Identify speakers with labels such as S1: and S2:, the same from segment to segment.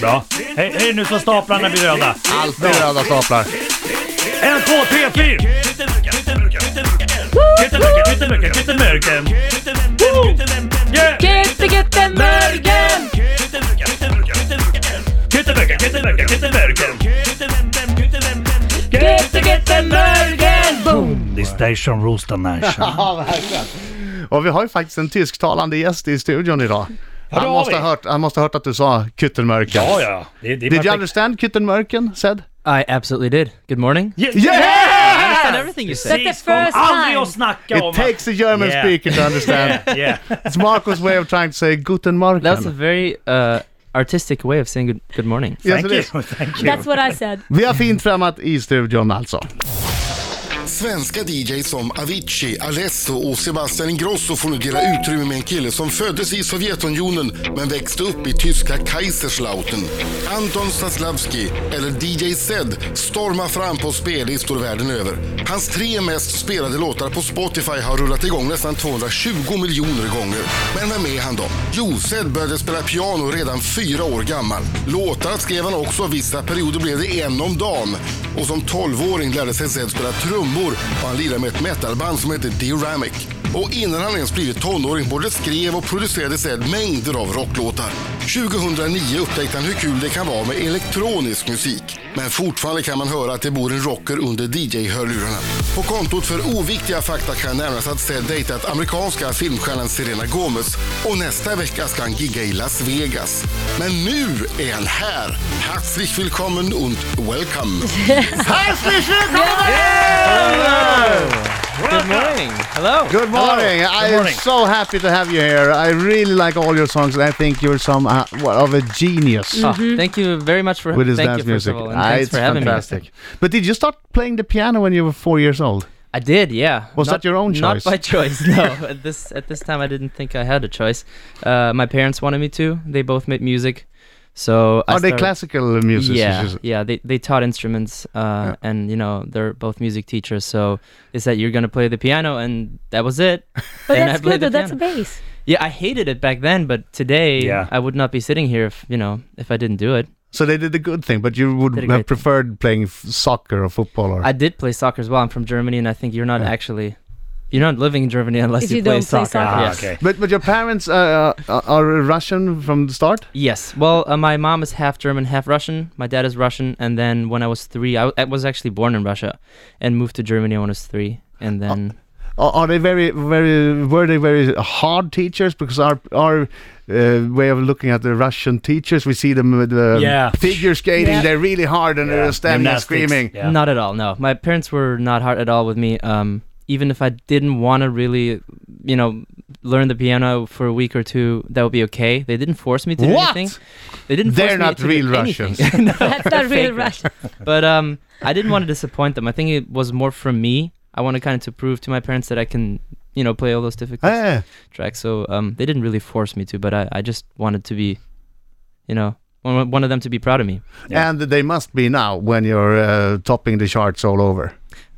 S1: Bra. Hej, hej nu så staplarna blir röda.
S2: Alltid röda staplar.
S1: En, två, tre, fyr! Pyttemörken, pyttemörken, pyttemörken. Woo! Yeah!
S3: Götte, götte, mörgen!
S1: Pyttemörken, pyttemörken, pyttemörken.
S3: Götte, götte, mörgen! Boom!
S1: The station rules the nation.
S2: Ja, verkligen. Och vi har ju faktiskt en tysktalande gäst i studion idag. Han
S1: har
S2: måste,
S1: vi.
S2: ha hört, han måste ha hört att du sa Küttenmörken.
S1: Ja, ja. Det, det är
S2: Did you
S1: perfekt.
S2: understand Küttenmörken, said?
S4: I absolutely did. Good morning.
S1: Yeah!
S4: I understand everything you said.
S3: That's the
S1: Precis, kom
S3: first
S1: aldrig
S3: time.
S1: att snacka om
S2: It takes a German
S1: Yeah.
S2: speaker to understand.
S1: att... Yeah.
S2: It's Marcos way of trying to say Guten Morgen.
S4: That was a very uh, artistic way of saying good, good morning.
S2: Yes,
S1: Thank
S2: it is.
S1: you, thank you.
S3: That's what I said.
S2: Vi har fint främmat i studion alltså.
S5: Svenska DJs som Avicii, Alesso och Sebastian Ingrosso får nu dela utrymme med en kille som föddes i Sovjetunionen men växte upp i tyska Kaiserslautern. Anton Staslavski, eller DJ Zed, stormar fram på spellistor världen över. Hans tre mest spelade låtar på Spotify har rullat igång nästan 220 miljoner gånger. Men vem är han då? Jo, Zed började spela piano redan fyra år gammal. Låtar skrev han också, vissa perioder blev det en om dagen. Och som 12-åring lärde sig Zed spela trummor och han lirade med ett metalband som hette Deramic. Och innan han ens blivit tonåring både skrev och producerade Zed mängder av rocklåtar. 2009 upptäckte han hur kul det kan vara med elektronisk musik. Men fortfarande kan man höra att det bor en rocker under DJ-hörlurarna. På kontot för oviktiga fakta kan nämnas att Zed dejtat amerikanska filmstjärnan Selena Gomez och nästa vecka ska han gigga i Las Vegas. Men nu är han här! Herzlich willkommen und welcome!
S4: Good morning. Hello.
S2: Good morning. I
S1: Good
S2: am
S1: morning.
S2: so happy to have you here. I really like all your songs and I think you're some uh, what, of a genius
S4: Ah, thank you very much for
S2: with his
S4: thank
S2: dance
S4: you, first
S2: music.
S4: Of all, and
S2: Ah,
S4: thanks
S2: it's
S4: for having
S2: fantastic.
S4: me.
S2: But did you start playing the piano when you were four years old?
S4: I did, yeah.
S2: Was that your own choice?
S4: Not by choice, no. at this at this time, I didn't think I had a choice. Uh, my parents wanted me to. They both made music, so I
S2: Are they
S4: started-
S2: classical music?
S4: Yeah, yeah. They they taught instruments, uh, and you know they're both music teachers. So they said you're gonna play the piano, and that was it.
S3: But
S4: and
S3: that's
S4: I played
S3: good though,
S4: the
S3: that's a
S4: piano.
S3: base.
S4: Yeah, I hated it back then, but today
S1: Yeah.
S4: I would not be sitting here if you know if I didn't do it.
S2: So they did the good thing, but you would
S4: Did a
S2: have
S4: great thing.
S2: preferred playing f- soccer or football or.
S4: I did play soccer as well. I'm from Germany, and I think you're not actually you're not living in Germany unless
S3: If
S4: you,
S3: you
S4: play
S3: don't play
S4: soccer.
S3: soccer.
S1: Ah,
S4: yes.
S1: okay.
S2: but but your parents uh, are, are Russian from the start.
S4: Yes. Well, uh, my mom is half German, half Russian. My dad is Russian, and then when I was three, I, w- I was actually born in Russia, and moved to Germany when I was three, and then.
S2: Are, are they very very were they very hard teachers? Because our our uh, way of looking at the Russian teachers, we see them with the
S1: Yeah.
S2: figure skating.
S3: Yeah.
S2: They're really hard and
S1: Yeah.
S2: they're standing and
S1: Gymnastics.
S2: screaming.
S1: Yeah.
S4: Not at all. No, my parents were not hard at all with me. Um, even if I didn't want to really, you know, learn the piano for a week or two, that would be okay. They didn't force me to do
S2: What?
S4: anything. They didn't.
S2: They're
S4: force
S2: not
S4: me to do
S2: real
S4: anything.
S2: Russians.
S4: No,
S3: That's
S4: they're
S3: not real
S4: fake
S3: Russian.
S4: But um, I didn't want to disappoint them. I think it was more from me. I wanted kind of to prove to my parents that I can, you know, play all those difficult
S2: Eh,
S4: tracks. So um, they didn't really force me to, but I, I just wanted to be, you know, one- wanted them to be proud of me.
S1: Yeah.
S2: And they must be now when you're uh, topping the charts all over.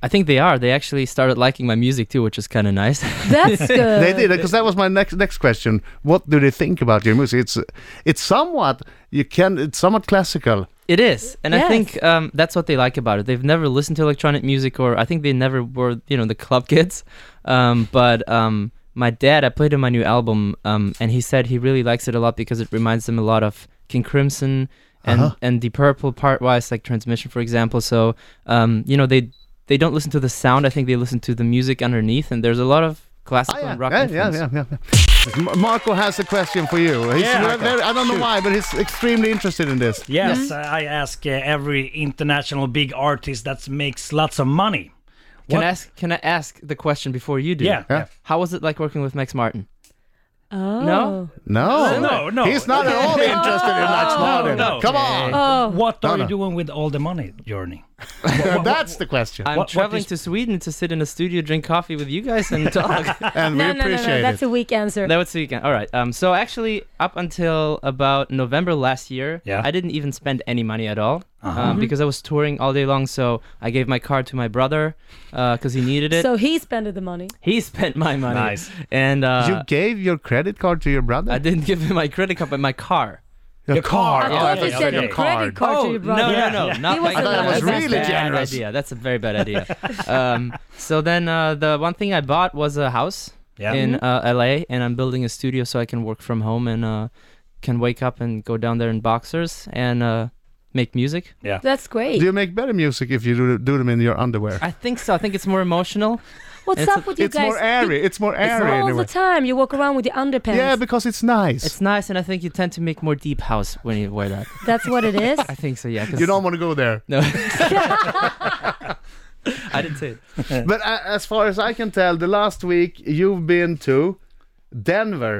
S4: I think they are. They actually started liking my music too, which is kind of nice.
S3: That's good.
S2: they
S1: Uh,
S2: did because that was my next next question. What do they think about your music? It's it's somewhat you can it's somewhat classical.
S4: It is, and
S3: Yes.
S4: I think um, that's what they like about it. They've never listened to electronic music, or I think they never were, you know, the club kids. Um, but um, my dad, I played him my new album, um, and he said he really likes it a lot because it reminds him a lot of King Crimson and
S2: Uh-huh.
S4: and the Purple part wise, like Transmission, for example. So um, you know, they they don't listen to the sound. I think they listen to the music underneath, and there's a lot of
S1: Oh,
S4: classical and rock
S2: Oh, yeah, yeah,
S4: influence.
S2: yeah, yeah, yeah. M- Marco has a question for you. He's
S1: Yeah,
S2: very, very- I don't know
S1: shoot.
S2: why, but he's extremely interested in this.
S1: Yes,
S4: Mm-hmm.
S1: I ask uh, every international big artist that makes lots of money.
S4: Can
S1: What-
S4: I ask? Can I ask the question before you do?
S1: Yeah.
S2: Yeah.
S4: How was it like working with Max Martin?
S3: Oh.
S4: No?
S2: No,
S1: No, no.
S2: he's not at all interested in Max Martin.
S1: no.
S2: Come on,
S3: Oh.
S1: What are
S2: no.
S1: you doing with all the money, Journey? Oh.
S2: that's the question,
S4: I'm
S1: What- what
S4: traveling
S1: is-
S4: to Sweden to sit in a studio, drink coffee with you guys, and talk.
S2: and we
S3: No, no, no, no,
S2: appreciate
S3: that's
S2: it.
S3: a weak answer.
S4: that was the weekend. All right. Um. So actually, up until about November last year,
S1: Yeah. Uh-huh. Mm-hmm.
S4: I didn't even spend any money at all um, because I was touring all day long. So I gave my card to my brother because he needed it.
S3: So he spent the money.
S4: he spent my money.
S1: Nice.
S4: And uh,
S2: you gave your credit card to your brother.
S4: I didn't give him my credit card, but my car. Oh,
S1: Your car.
S3: I thought
S1: Okay,
S3: you said
S1: okay.
S3: your credit card
S2: Oh,
S3: to your brother.
S4: no, no,
S1: Yeah.
S4: no,
S1: Yeah.
S4: not
S3: He
S4: like
S3: was allowed.
S4: That's
S3: That was
S4: a
S2: really
S4: bad
S2: generous.
S4: idea. That's a very bad idea. um, so then uh, the one thing I bought was a house
S1: Yeah.
S4: in uh, LA, and I'm building a studio so I can work from home and uh, can wake up and go down there in boxers and uh, make music.
S3: That's
S2: Do
S3: great.
S2: you make better music if you do, do them in your underwear?
S4: I think so. I think it's more emotional.
S3: What's
S4: It's-
S3: up with you
S2: It's
S3: guys?
S2: more airy. It's more
S3: It's
S2: airy
S3: all
S2: anyway.
S3: the time. You walk around with your underpants.
S2: Yeah, because it's nice.
S4: It's nice, and I think you tend to make more deep house when you wear that.
S3: That's what it is.
S4: I think so. Yeah. 'cause-
S2: you don't want to go there.
S4: No. I didn't say it.
S2: But a as far as I can tell, the last week you've been to Denver,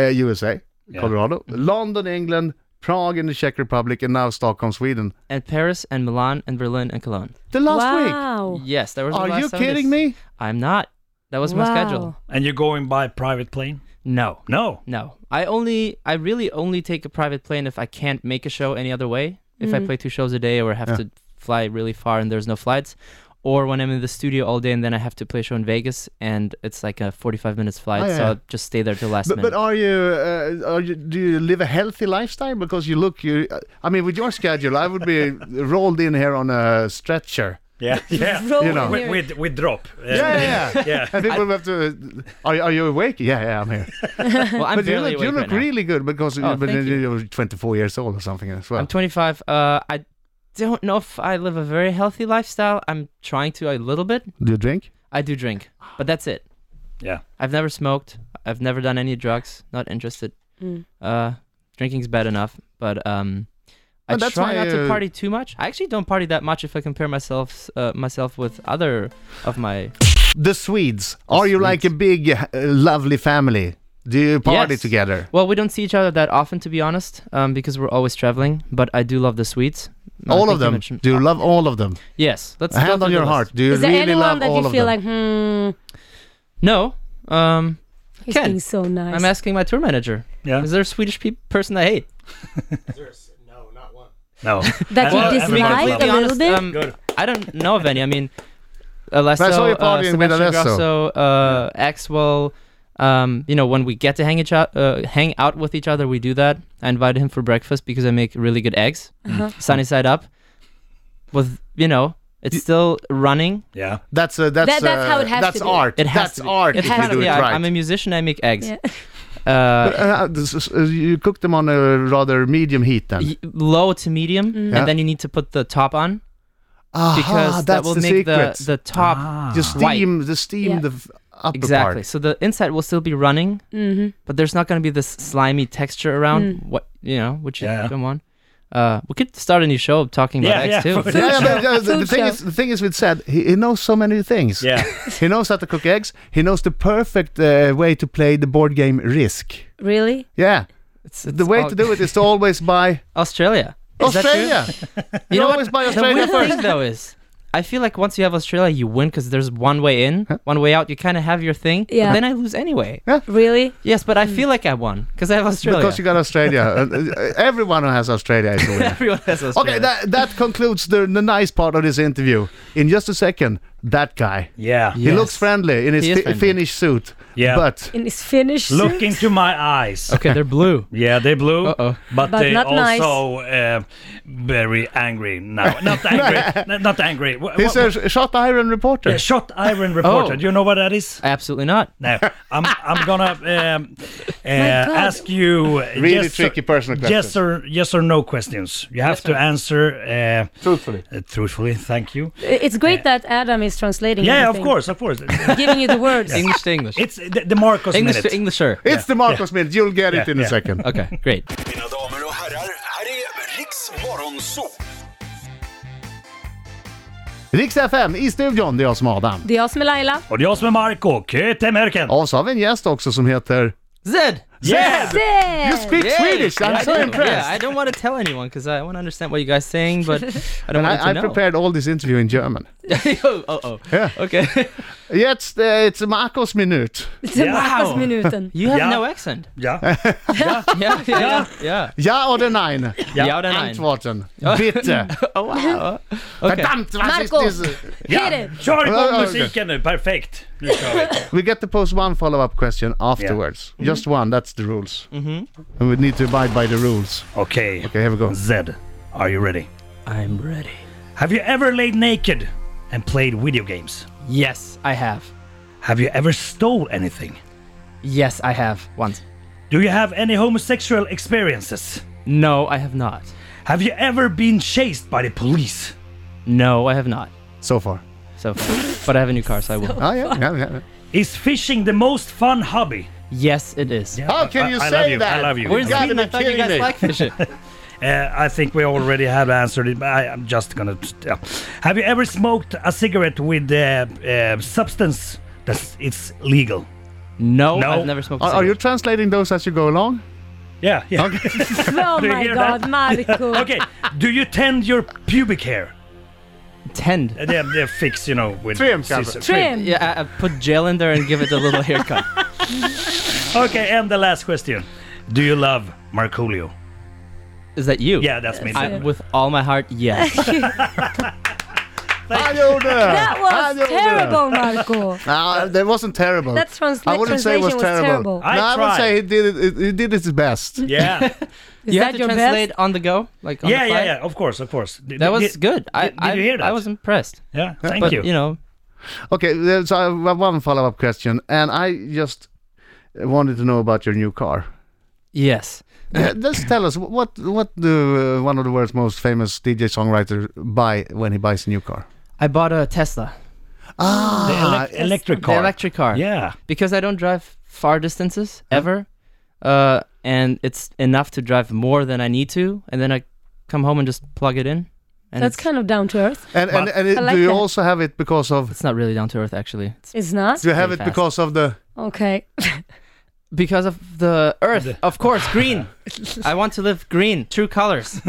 S2: uh, USA,
S1: Yeah.
S2: Colorado, London, England, Prague in the Czech Republic, and now Stockholm, Sweden.
S4: And Paris and Milan and Berlin and Cologne.
S2: The last week.
S3: wow.
S4: Yes, that was. the
S2: Are
S4: last
S2: you
S4: seven
S2: kidding
S4: days.
S2: me?
S4: I'm not. That was my
S3: Wow.
S4: schedule.
S1: And you're going by private plane?
S4: No,
S1: No.
S4: no. I only, I really only take a private plane if I can't make a show any other way. If
S2: Mm-hmm.
S4: I play two shows a day or have
S2: Yeah.
S4: to fly really far and there's no flights, or when I'm in the studio all day and then I have to play a show in Vegas and it's like a 45 minutes flight,
S2: Oh, yeah,
S4: so
S2: yeah.
S4: I'll just stay there till last
S2: But,
S4: minute.
S2: but are you? Uh, are you? Do you live a healthy lifestyle? Because you look. You. I mean, with your schedule, I would be rolled in here on a stretcher.
S1: Yeah. Yeah.
S3: Roll
S2: You know.
S1: With,
S3: here.
S1: with, with drop. Uh,
S2: Yeah, yeah. yeah.
S1: yeah.
S2: And people have to. Are, are you awake? Yeah, yeah, I'm here.
S4: well, I'm
S2: but you
S4: barely
S2: look, you look
S4: awake right now.
S2: really good because
S4: Oh,
S2: but
S4: thank you.
S2: you're 24 years old or something as well.
S4: I'm 25. Uh, I don't know if I live a very healthy lifestyle. I'm trying to a little bit.
S2: do you drink?
S4: I do drink, but that's it.
S1: Yeah.
S4: I've never smoked. I've never done any drugs. Not interested.
S3: Mm.
S4: Uh, drinking's bad enough, but um, I
S2: Well, that's
S4: try
S2: why,
S4: not to
S2: uh,
S4: party too much. I actually don't party that much if I compare myself uh, myself with other of my.
S2: The Swedes. Are you like a
S4: Swedes.
S2: big, uh, lovely family? Do you party
S4: Yes.
S2: together?
S4: Well, we don't see each other that often, to be honest, um, because we're always traveling. But I do love the sweets. I
S2: all
S4: think
S2: of
S4: you
S2: them.
S4: mentioned-
S2: Do you
S4: uh,
S2: love all of them?
S4: Yes. Let's go
S2: Hand
S4: through
S2: on
S4: the
S2: your
S4: list.
S2: heart. Do you
S3: Is there
S2: really
S3: anyone
S2: love
S3: that
S2: all
S3: you
S2: of
S3: feel
S2: them?
S3: like, hmm,
S4: No. Um,
S3: he's
S4: Ken,
S3: being so nice?
S4: I'm asking my tour manager.
S1: Yeah.
S4: Is there a Swedish pe- person I hate?
S1: No.
S3: that
S1: Well,
S3: you
S1: everybody
S3: dislike
S1: loves
S3: a
S1: it.
S3: little bit?
S4: um,
S1: Good.
S4: I don't know of any. I mean, Alesso,
S2: But I saw you
S4: uh,
S2: partying with
S4: Sebastian
S2: Alesso.
S4: Grasso, uh, Axwell. Um, you know, when we get to hang each out, uh, hang out with each other, we do that. I invited him for breakfast because I make really good eggs, Mm-hmm.
S3: Uh-huh.
S4: sunny side up. With you know, it's still running.
S1: Yeah.
S2: That's uh, that's
S3: That- that's
S2: uh,
S3: how it has
S2: that's
S3: to be.
S2: art.
S4: It has
S2: that's
S4: to be.
S2: art.
S4: It
S2: if
S4: has
S2: you
S4: to
S2: do
S4: be.
S2: it
S4: I,
S2: right.
S4: I'm a musician. I make eggs.
S3: Yeah.
S4: Uh,
S2: But, uh, this is- uh, you cook them on a rather medium heat then.
S4: y- low to
S3: Mm-hmm.
S4: medium,
S2: Yeah.
S4: and then you need to put the top on
S2: Aha,
S4: because
S2: Ah, that's
S4: that will
S2: the
S4: make
S2: secret.
S4: the the top
S1: Ah.
S2: the steam, the steam,
S3: Yeah.
S2: the f- upper
S4: exactly.
S2: part.
S4: So the inside will still be running,
S3: hmm
S4: but there's not going to be this slimy texture around
S3: Mm.
S4: what you know which
S1: Yeah.
S4: you come on uh we could start a new show talking
S1: Yeah,
S4: about eggs
S1: yeah,
S4: too
S1: for-
S2: Yeah, yeah, but, uh, the, the
S3: Food
S2: thing
S3: show.
S2: is, the thing is with Seth, he, he knows so many things.
S1: Yeah.
S2: He knows how to cook eggs. He knows the perfect uh, way to play the board game Risk.
S3: Really?
S2: Yeah,
S4: It's-
S2: the
S4: it's
S2: way
S4: all-
S2: to do it is to always buy
S4: australia Is that true?
S2: Australia.
S4: you
S2: You
S4: know
S2: always
S4: what
S2: buy
S4: the
S2: Australia
S4: weird
S2: first.
S4: thing though is i feel like once you have australia you win because there's one way in one way out you kind of have your thing but
S3: Yeah. Mm.
S4: then i lose anyway
S3: Really?
S4: yes but i feel like i won because i have australia
S2: Because you got Australia. Uh, uh, Everyone who has Australia is a winner.
S4: everyone has australia
S2: Okay, that, that concludes the, the nice part of this interview. In just a second, that guy.
S1: Yeah.
S2: He
S4: Yes.
S2: looks friendly in his
S4: He is
S2: fi-
S4: friendly.
S2: Finnish suit.
S1: Yeah.
S2: But
S3: In his Finnish
S1: Look
S3: suit?
S1: into my eyes.
S4: okay they're blue
S1: Yeah, they blew,
S4: Uh-oh.
S1: but,
S3: But
S1: they
S3: not nice.
S1: also uh, very angry now. Not angry. n- not angry. Wha-
S2: he's
S1: wha-
S2: a sh- shot iron reporter.
S1: Yeah, shot iron reporter.
S4: Oh.
S1: Do you know what that is?
S4: absolutely not
S1: No, I'm I'm gonna um, uh,
S3: God.
S1: ask you uh,
S2: Really
S1: yes
S2: tricky personal
S1: or, yes
S2: questions.
S1: or yes or no questions. You have to answer
S2: Truthfully.
S1: uh, uh, truthfully. Thank you.
S3: It's great that Adam is translating.
S1: Yeah, of
S3: everything.
S1: course, of course.
S3: Giving you the words.
S4: english to english
S1: It's the, the Marcos
S4: english to
S1: minute.
S4: englisher
S2: It's the Marcos minute. You'll get it
S1: Yeah,
S2: in a
S1: yeah.
S2: second.
S4: okay great
S6: Mina damer och herrar, här är Riks Morgonzoo!
S2: Rix FM i studion, det är jag som är Adam.
S3: Det är jag som är Laila.
S1: Och det är jag som är Marco. Kötemörken.
S3: Oh.
S2: Och så har vi en gäst också som heter...
S4: zed
S1: Yeah!
S2: You speak Swedish! I'm
S4: I
S2: so
S4: do.
S2: impressed!
S4: Yeah, I don't want to tell anyone because I want to understand what you guys saying, but I don't
S2: And
S4: want them
S2: I, I
S4: to know.
S2: prepared all this interview in German.
S4: oh, oh.
S2: Yeah.
S4: Okay.
S2: Jetzt, äh, it's Marcos Minute.
S1: Ja.
S3: Marcusminuten.
S4: You have
S1: Yeah.
S4: no accent.
S1: Ja.
S4: Yeah, yeah, yeah. yeah.
S2: Ja oder nein?
S1: Ja.
S4: Ja oder nein?
S2: Antworten. Bitte.
S4: Oh, wow. Okay.
S2: Verdammt, was
S3: Marco.
S2: ist diese?
S1: ja.
S3: Hit it.
S1: Kör igång
S2: Okej.
S1: musiken nu, perfekt. Nu kör vi.
S2: We get to post one follow-up question afterwards. Just one, that's the rules. And we need to abide by the rules.
S1: Okej,
S2: Okay, here we go.
S1: Zed, are you ready?
S4: I'm ready.
S1: Have you ever laid naked and played video games?
S4: Yes, I have.
S1: Have you ever stole anything?
S4: Yes, I have. Once.
S1: Do you have any homosexual experiences?
S4: No, I have not.
S1: Have you ever been chased by the police?
S4: No, I have not.
S2: So far.
S4: So, but I have a new car, so I will.
S2: Oh, yeah, yeah, yeah.
S1: Is fishing the most fun hobby?
S4: Yes, it is.
S1: Yeah,
S2: How
S1: I-
S2: can
S1: I-
S2: you
S1: I
S2: say
S1: love you.
S2: that?
S1: I love you.
S2: Where's
S1: I love
S2: that?
S4: I thought you guys
S2: Kidding.
S4: like fishing.
S1: you. Uh, I think we already have answered it, but I, I'm just gonna. yeah. Have you ever smoked a cigarette with uh, uh, substance that's it's legal?
S4: No,
S1: No. Oh,
S4: I've never smoked. a
S2: Are, are you
S4: cigarette.
S2: translating those as you go along?
S1: Yeah. yeah. Okay.
S3: Oh
S1: Do you
S3: my
S1: hear
S3: god, Marco.
S1: Do you tend your pubic hair?
S4: tend?
S1: Uh, they, they fix, you know, with
S2: Trim,
S1: scissors.
S2: Casper.
S3: Trim.
S4: Yeah, I, I put gel in there and give it a little haircut.
S1: Okay, and the last question: Do you love Marcolio?
S4: Is that you?
S1: Yeah, that's me.
S4: I, with all my heart, yes.
S2: I don't know.
S3: That
S2: I
S3: was
S2: don't know.
S3: terrible, Marco.
S2: No, that wasn't Ah, terrible.
S3: That transla-
S2: I wouldn't say it was
S3: translation was
S2: terrible.
S3: terrible.
S2: No,
S1: I
S2: I would
S1: tried.
S2: say he did it. He did his best.
S1: yeah.
S3: Is
S4: you
S3: that
S4: have to
S3: your
S4: translate
S3: best?
S4: on the go, like on
S1: yeah,
S4: the
S1: yeah,
S4: fly?
S1: yeah. Of course, of course. Did-
S4: That was
S1: did-
S4: good. I,
S1: did- did you hear
S4: I, I
S1: that?
S4: was impressed.
S1: Yeah. Thank
S4: but
S1: you.
S4: you know,
S2: Okay, uh, so I have one follow-up question, and I just wanted to know about your new car.
S4: yes.
S2: Uh, Just tell us wh- what what the uh, one of the world's most famous DJ songwriter buy when he buys a new car.
S4: I bought a Tesla,
S1: the
S2: Ah,
S1: elec- electric car.
S4: the electric car.
S1: Yeah.
S4: because I don't drive far distances ever, uh, and it's enough to drive more than I need to, and then I come home and just plug it in. And
S3: That's
S4: it's,
S3: kind of down to earth.
S2: And and,
S1: But-
S2: and it,
S3: I like
S2: do you
S3: that.
S2: also have it because of?
S4: it's not really down to earth actually. It's
S3: It's not?
S2: Do you have it
S4: Pretty fast.
S2: because of the?
S3: Okay.
S4: because of the earth, of course, green. I want to live green, true colors.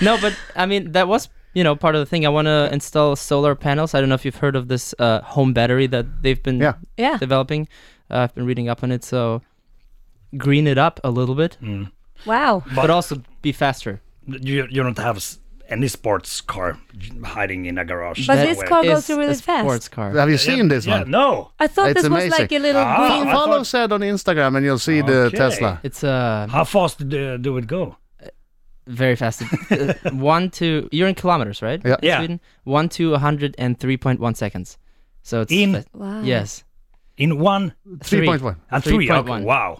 S4: no, but I mean that was you know part of the thing. I want to install solar panels. I don't know if you've heard of this uh, home battery that they've been
S2: Yeah.
S3: Yeah.
S4: developing. Uh, I've been reading up on it, so green it up a little bit,
S3: Wow.
S4: but also be faster.
S1: You you don't have s- any sports car hiding in a garage.
S3: But
S1: somewhere.
S3: this car goes
S4: It's
S3: really
S4: a
S3: fast.
S4: sports car.
S2: Have you seen this
S1: Yeah.
S2: one?
S1: No.
S3: I thought
S2: It's
S3: this was like a
S2: amazing.
S3: little
S1: Ah.
S3: green.
S1: I
S2: Follow
S1: thought-
S2: said on Instagram, and you'll see the
S1: Okay.
S2: Tesla.
S4: It's a
S1: How fast do, do it go?
S4: very fast. Uh, one to you're in kilometers, right?
S2: Yeah.
S4: In
S1: Yeah.
S4: Sweden? One to hundred and three point one seconds. So it's
S1: In-
S3: Wow.
S4: yes,
S1: In one
S2: Three point one.
S1: and three.
S4: point
S1: Okay,
S4: one.
S1: Wow.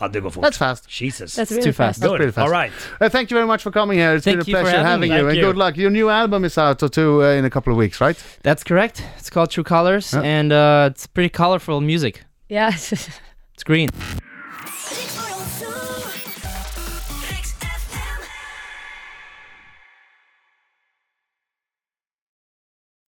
S1: Ah, How do you go for?
S2: That's fast.
S1: Jesus.
S3: That's
S4: too
S3: really fast.
S4: fast.
S1: good.
S2: pretty fast.
S1: All right.
S2: Uh, thank you very much for coming here. It's
S4: Thank
S2: been a
S4: you for
S2: pleasure having
S4: having me.
S2: you, and
S1: Thank
S2: good
S1: you.
S2: luck. Your new album is out or two uh, in a couple of weeks, right?
S4: That's correct. It's called True Colors, and uh, it's pretty colorful music.
S3: Yeah.
S4: It's green.